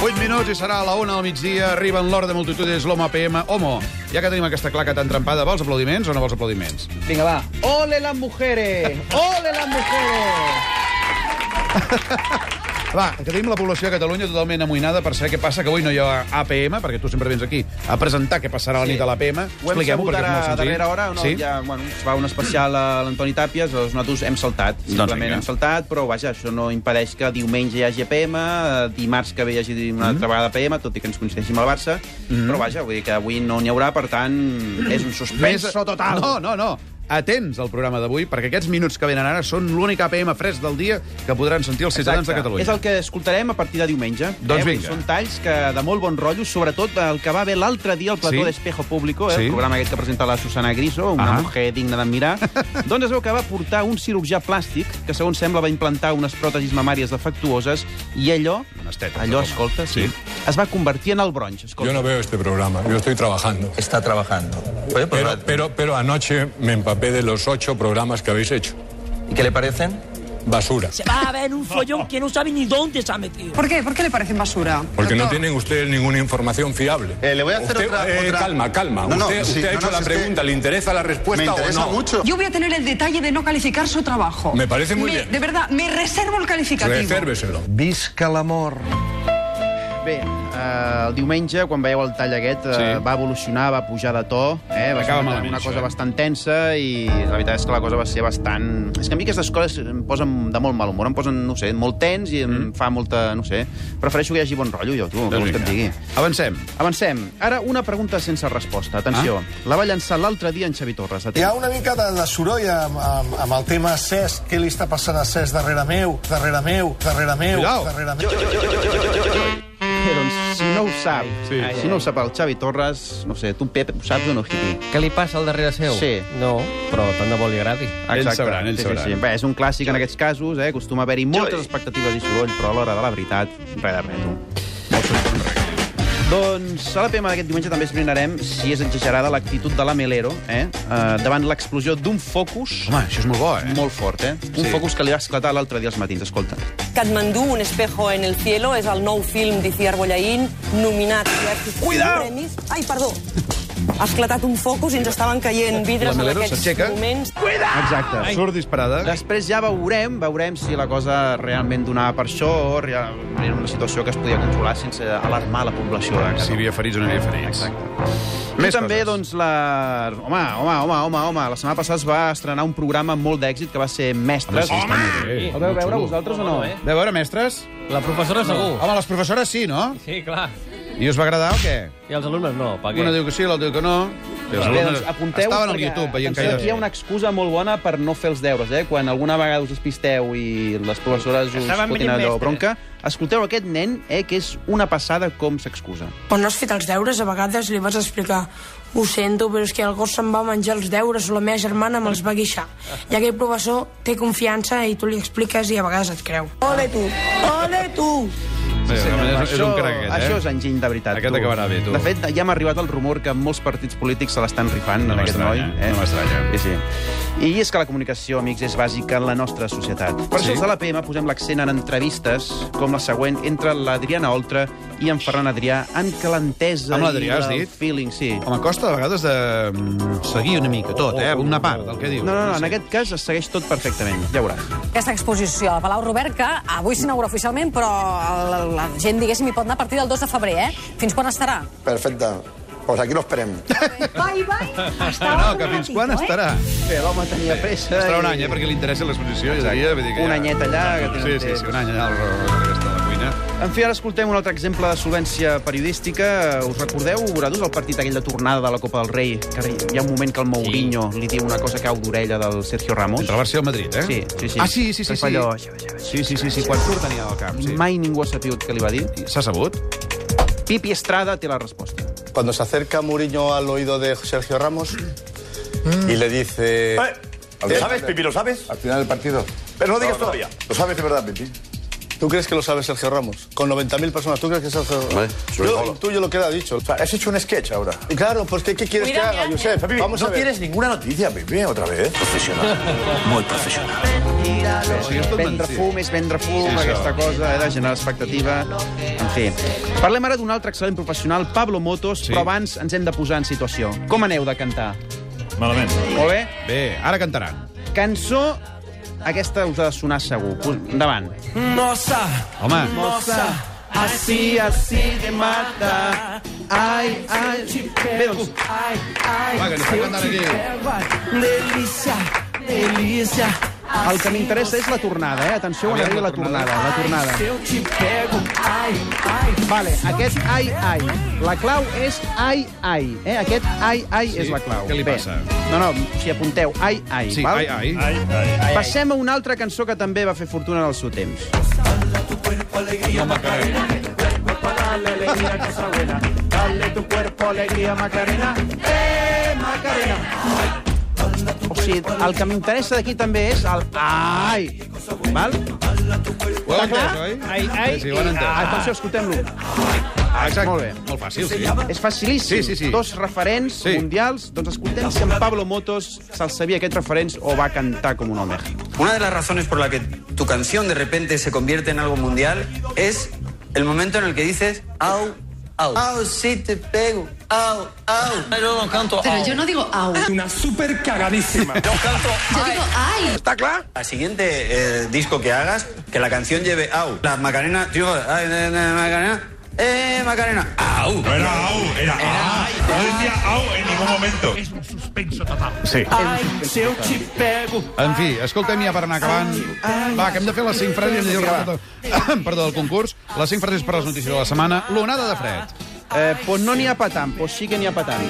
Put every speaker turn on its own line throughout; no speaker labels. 8 minuts i serà a la 1 al migdia. Arriba en l'hora de multitud, és l'home PM. Homo, ja que tenim aquesta claca tan trempada, vols aplaudiments o no vols aplaudiments?
Venga, va. ¡Ole las mujeres! ¡Ole las mujeres!
Va, que tenim la població de Catalunya totalment amoïnada per saber què passa, que avui no hi ha APM, perquè tu sempre vens aquí a presentar què passarà a la
Sí.
nit a l'APM.
Ho hem
Expliquem-ho,
sabut
perquè és
ara
molt
a
senzill.
darrera hora, no?
Sí?
ja bueno, es va un especial a l'Antoni Tàpies, doncs nosaltres hem saltat. Simplement
vinga.
hem saltat, però vaja, això no impedeix que diumenge hi hagi PM, eh, dimarts que ve hi hagi una
Mm.
altra vegada PM, tot i que ens coincideixi amb el Barça, però vaja, vull dir que avui no n'hi haurà, per tant, és un
Més-
suspenso total.
No, no, no. Atents al programa d'avui, perquè aquests minuts que venen ara són l'únic APM fresc del dia que podran sentir els ciutadans de Catalunya.
És el que escoltarem a partir de diumenge.
Doncs
eh?
vinga.
Són talls que de molt bon rotllo, sobretot el que va haver l'altre dia al plató
Sí.
sí? d'Espejo Público, eh?
Sí.
el programa aquest que presenta la Susana Griso, una
Ah.
mujer digna d'admirar, doncs es veu que va portar un cirurgià plàstic que, segons sembla, va implantar unes pròtesis mamàries defectuoses i allò,
Unes tetes,
allò,
home.
escolta, sí.
Sí.
es va convertir en el bronx. Escolta.
Yo no veo este programa, yo estoy trabajando.
está trabajando. Oye, pues,
Pero, pero, pero anoche me empapé de los ocho programas que habéis hecho.
¿Y qué le parecen?
Basura.
Se va a ver un follón que no sabe ni dónde se ha metido.
¿Por qué? ¿Por qué le parecen basura?
Porque no tienen ustedes ninguna información fiable.
Eh, le voy a hacer
Usted-
otra-
eh,
otra-
Calma, calma.
No, no,
usted
sí,
usted ha
no,
hecho
no,
la
si es que
pregunta, ¿le interesa la respuesta
Me interesa
o no?
mucho.
Yo voy a tener el detalle de no calificar su trabajo.
Me parece muy bien.
De verdad, me reservo el calificativo.
Resérveselo.
Visca el amor.
Bé, eh, el diumenge, quan veieu el tall aquest, eh,
Sí.
sí. va evolucionar, va pujar de to, eh, va
Acaba
ser una,
malament,
una
això,
cosa
eh?
bastant tensa i la veritat és que la cosa va ser bastant... És que a mi aquestes coses em posen de molt mal humor, em posen, no ho sé, molt tens i em
Mm.
fa molta, no ho sé... Prefereixo que hi hagi bon rotllo, jo, tu, què vols que et digui?
Avancem. Ah.
Avancem. Ara, una pregunta sense resposta. Atenció. La va llançar l'altre dia en Xavi Torres.
Hi ha
Atent.
una mica de, de soroll amb, amb, amb el tema Cesc. Què li està passant a Cesc darrere meu? Darrere meu? Darrere meu?
Cuidao.
Darrere meu?
Eh, doncs, si no ho sap, sí. si no ho sap el Xavi Torres, no ho sé, tu, Pep, ho saps o no, Hipi?
Què li passa al darrere seu?
Sí.
No, però tant de bo li agradi.
Ells sabran, ells sabran.
Sí, sí. Bé, és un clàssic en aquests casos, eh? acostuma a haver-hi moltes expectatives i soroll, però a l'hora de la veritat, res de res. no. Doncs a la PM d'aquest diumenge també esbrinarem si és exagerada l'actitud de la Melero eh? Eh, davant l'explosió d'un focus
Home, això és molt bo, eh?
molt fort, eh? Un
Sí.
focus que li va esclatar l'altre dia als matins, escolta.
Katmandú, un espejo en el cielo, és el nou film d'Iciar Bollaín, nominat a diversos
Cuidao!
premis. Ai, perdó. Ha esclatat un focus i ens estaven caient vidres en
Melero
aquests
s'aixeca.
moments.
Exacte.
Surt disparada.
Després ja veurem, veurem si la cosa realment donava per això o rea- era una situació que es podia controlar sense alarmar la població. eh? de Catalunya.
Si hi havia ferits o no hi havia ferits.
Exacte.
Més
I també,
coses.
doncs, la... Home, home, home, home, home, la setmana passada es va estrenar un programa amb molt d'èxit que va ser Mestres.
Sí.
El vau veure vosaltres o no? Eh?
De veure, mestres?
La professora segur.
Home, les professores sí, no?
Sí, clar.
I us va agradar o què?
I els alumnes no, per què?
Una diu que sí, l'altra diu que no. I els
Bé,
alumnes
doncs apunteu
estaven al YouTube veient que
que aquí hi ha una excusa molt bona per no fer els deures, eh? Quan alguna vegada us despisteu i les professores us
Estaven
fotin
veient
allò
mestres.
bronca, escolteu aquest nen, eh, que és una passada com s'excusa.
Quan no has fet els deures, a vegades li vas explicar ho sento, però és que el gos se'n va menjar els deures o la meva germana me'ls va guixar. I aquell professor té confiança i tu li expliques i a vegades et creu. Ole tu! Ole tu!
Sí,
Senyor,
és, és un crac, aquest, eh?
això és enginy de veritat.
Aquest
tu.
acabarà bé, tu.
De fet, ja m'ha arribat el rumor que molts partits polítics se l'estan rifant
No
en aquest noi. eh?
m'estranya, no m'estranya.
Sí, sí. I és que la comunicació, amics, és bàsica en la nostra societat. Per
Sí.
això els de la PM posem l'accent en entrevistes com la següent entre l'Adriana Oltra i en Ferran Adrià en que l'entesa
Amb l'Adrià,
i
has
el
dit?
feeling, sí.
Home, costa a vegades de mm, seguir una mica tot, eh? Una part del que diu.
No, no, no, en aquest cas es segueix tot perfectament, ja veuràs.
Aquesta exposició al Palau Robert, que avui s'inaugura oficialment, però la, la gent, diguéssim, hi pot anar a partir del 2 de febrer, eh? Fins quan estarà?
Perfecte. Pues aquí lo esperem.
Bye, bye. Hasta ¿eh?
No, que fins quan estarà?
Bé, l'home tenia pressa.
Estarà un
i-
any, eh? Perquè li interessa l'exposició. Ja, ja, vull dir que
Un
ja...
anyet allà, que
Sí,
tenen
sí,
temps.
sí, un any allà al resta de la cuina.
En fi, ara escoltem un altre exemple de solvència periodística. Us recordeu, Boradús, el partit aquell de tornada de la Copa del Rei? Que hi ha un moment que el Mourinho li diu una cosa cau d'orella del Sergio Ramos.
Entre el Barça i el Madrid, eh?
Sí, sí, sí.
Ah, sí, sí, sí.
Que
sí.
fa allò-
Sí, sí, sí, sí, quan surt tenia al cap, sí.
Mai ningú ha sabut què li va dir.
S'ha sabut?
Pipi Estrada té la resposta.
Cuando se acerca Mourinho al oído de Sergio Ramos y le dice...
Eh,
¿Lo sabes, Pipi? ¿Lo sabes?
Al final del partido.
Pero no digas todavía.
Lo sabes de verdad, Pipi. ¿Tú crees que lo sabe Sergio Ramos? Con 90.000 personas, ¿tú crees que Sergio Ramos?
Vale, sobre
yo
todo.
intuyo lo que le ha dicho. O sea,
has hecho un sketch ahora.
Y claro, pues ¿qué, qué quieres
Cuida,
que haga,
mira, mira.
Josep?
Pepe,
Vamos
no
a ver.
tienes ninguna noticia, Pepe, otra vez. Profesional. Muy profesional.
Vendre fum és vendre fum, sí, aquesta cosa, he de generar expectativa. En fi. Parlem ara d'un altre excel·lent professional, Pablo Motos, sí. però abans ens hem de posar en situació. Com aneu de cantar?
Malament.
Molt bé?
Bé, ara cantaran.
Cançó... Aquesta us ha de sonar segur. Pos- Endavant.
Nossa,
Home.
nossa, así, así de mata. Ai, ai, bé, doncs. Ai, ai,
Va, que ens està cantant aquí.
Delícia, delícia.
El que m'interessa és la tornada, eh? Atenció quan arribi la tornada, la tornada.
Se eu te pego, ai, ai.
Vale, aquest ai, ai. La clau és ai, ai. Eh? Aquest ai, ai sí? és la clau.
Què li
Bé.
passa?
No, no, si apunteu, ai, ai.
Sí,
val?
ai, ai. Ai,
ai. Passem a una altra cançó que també va fer fortuna en el seu temps.
Alegría, Macarena. Vuelve para darle alegría a casa buena. Dale tu cuerpo alegría, Macarena. Eh, Macarena.
O sigui, el que m'interessa d'aquí també és el ai. Val?
Ho heu entès, oi?
Ai, ai.
Sí, sí, ho han entès. Ah,
Ah, Atenció, escoltem-lo.
Exacte.
Molt bé.
Molt fàcil, sí.
És facilíssim.
Sí, sí, sí.
Dos referents sí. mundials. Doncs escoltem si en Pablo Motos se'l sabia aquests referents o va cantar com un home.
Una de las razones por la que tu canción de repente se convierte en algo mundial es el momento en el que dices au, au. Au, sí te pego, au, au. Yo no canto
Pero yo no digo au.
Una super cagadísima. Yo canto
Yo digo ay.
¿Está claro? Al siguiente eh, disco que hagas, que la canción lleve au. La Macarena, tío, ay, eh, eh, Macarena, eh, Macarena,
Ah,
au. No era au, era, ay. No decía au en ningún momento.
Es un suspenso total.
Sí.
Ai, se eu te pego,
En fi, escoltem ja per anar acabant. Va, que hem de fer les 5 frases de lliure. Perdó, del concurs. Les 5 frases per les notícies de la setmana. L'onada de fred.
Eh, pues no n'hi ha per tant, pues sí que n'hi ha per tant.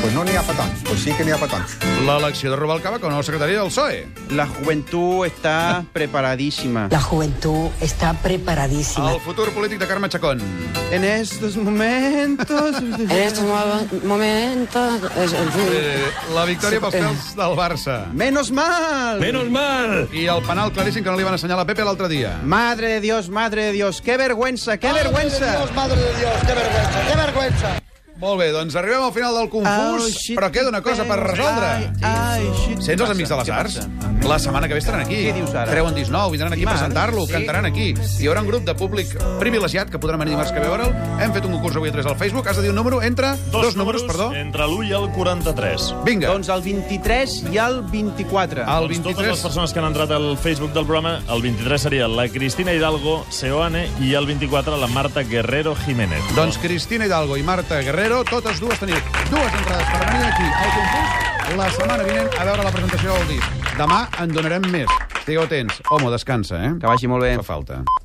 Pues no n'hi ha petons, pues sí que n'hi ha petons. L'elecció de Rubalcaba com a nou secretari del PSOE.
La joventut està preparadíssima.
La juventud está preparadísima.
El futur polític de Carme Chacón.
En estos momentos... en
estos mo- momentos... es- en fin.
Eh, la victòria pels pèls del Barça.
Menos mal!
Menos mal! I el penal claríssim que no li van assenyalar a Pepe l'altre dia.
Madre de Dios, madre de Dios, qué vergüenza, qué vergüenza.
madre de Dios, qué vergüenza, qué vergüenza.
Molt bé, doncs arribem al final del confús,
Oh, shit.
però queda una cosa per resoldre.
Ai,
Sents els Amics de les Arts? La setmana que ve estaran aquí.
Què dius ara?
Treuen disc nou, vindran aquí a
Dimarts?
presentar-lo,
Sí.
cantaran aquí. Hi haurà un grup de públic privilegiat que podrà venir dimarts que ve a veure'l. Hem fet un concurs avui a 3 al Facebook. Has de dir un número entre... Dos, dos números, perdó.
Entre l'1 i el 43.
Vinga.
Doncs el 23 i el 24.
El 23... Doncs totes les persones que han entrat al Facebook del programa, el 23 seria la Cristina Hidalgo Seoane i el 24 la Marta Guerrero Jiménez.
Doncs Cristina Hidalgo i Marta Guerrero, totes dues teniu dues entrades per venir aquí al concurs la setmana vinent a veure la presentació del disc. Demà en donarem més. Estigueu atents. Homo, descansa, eh? Que
vagi molt bé.
Fa falta.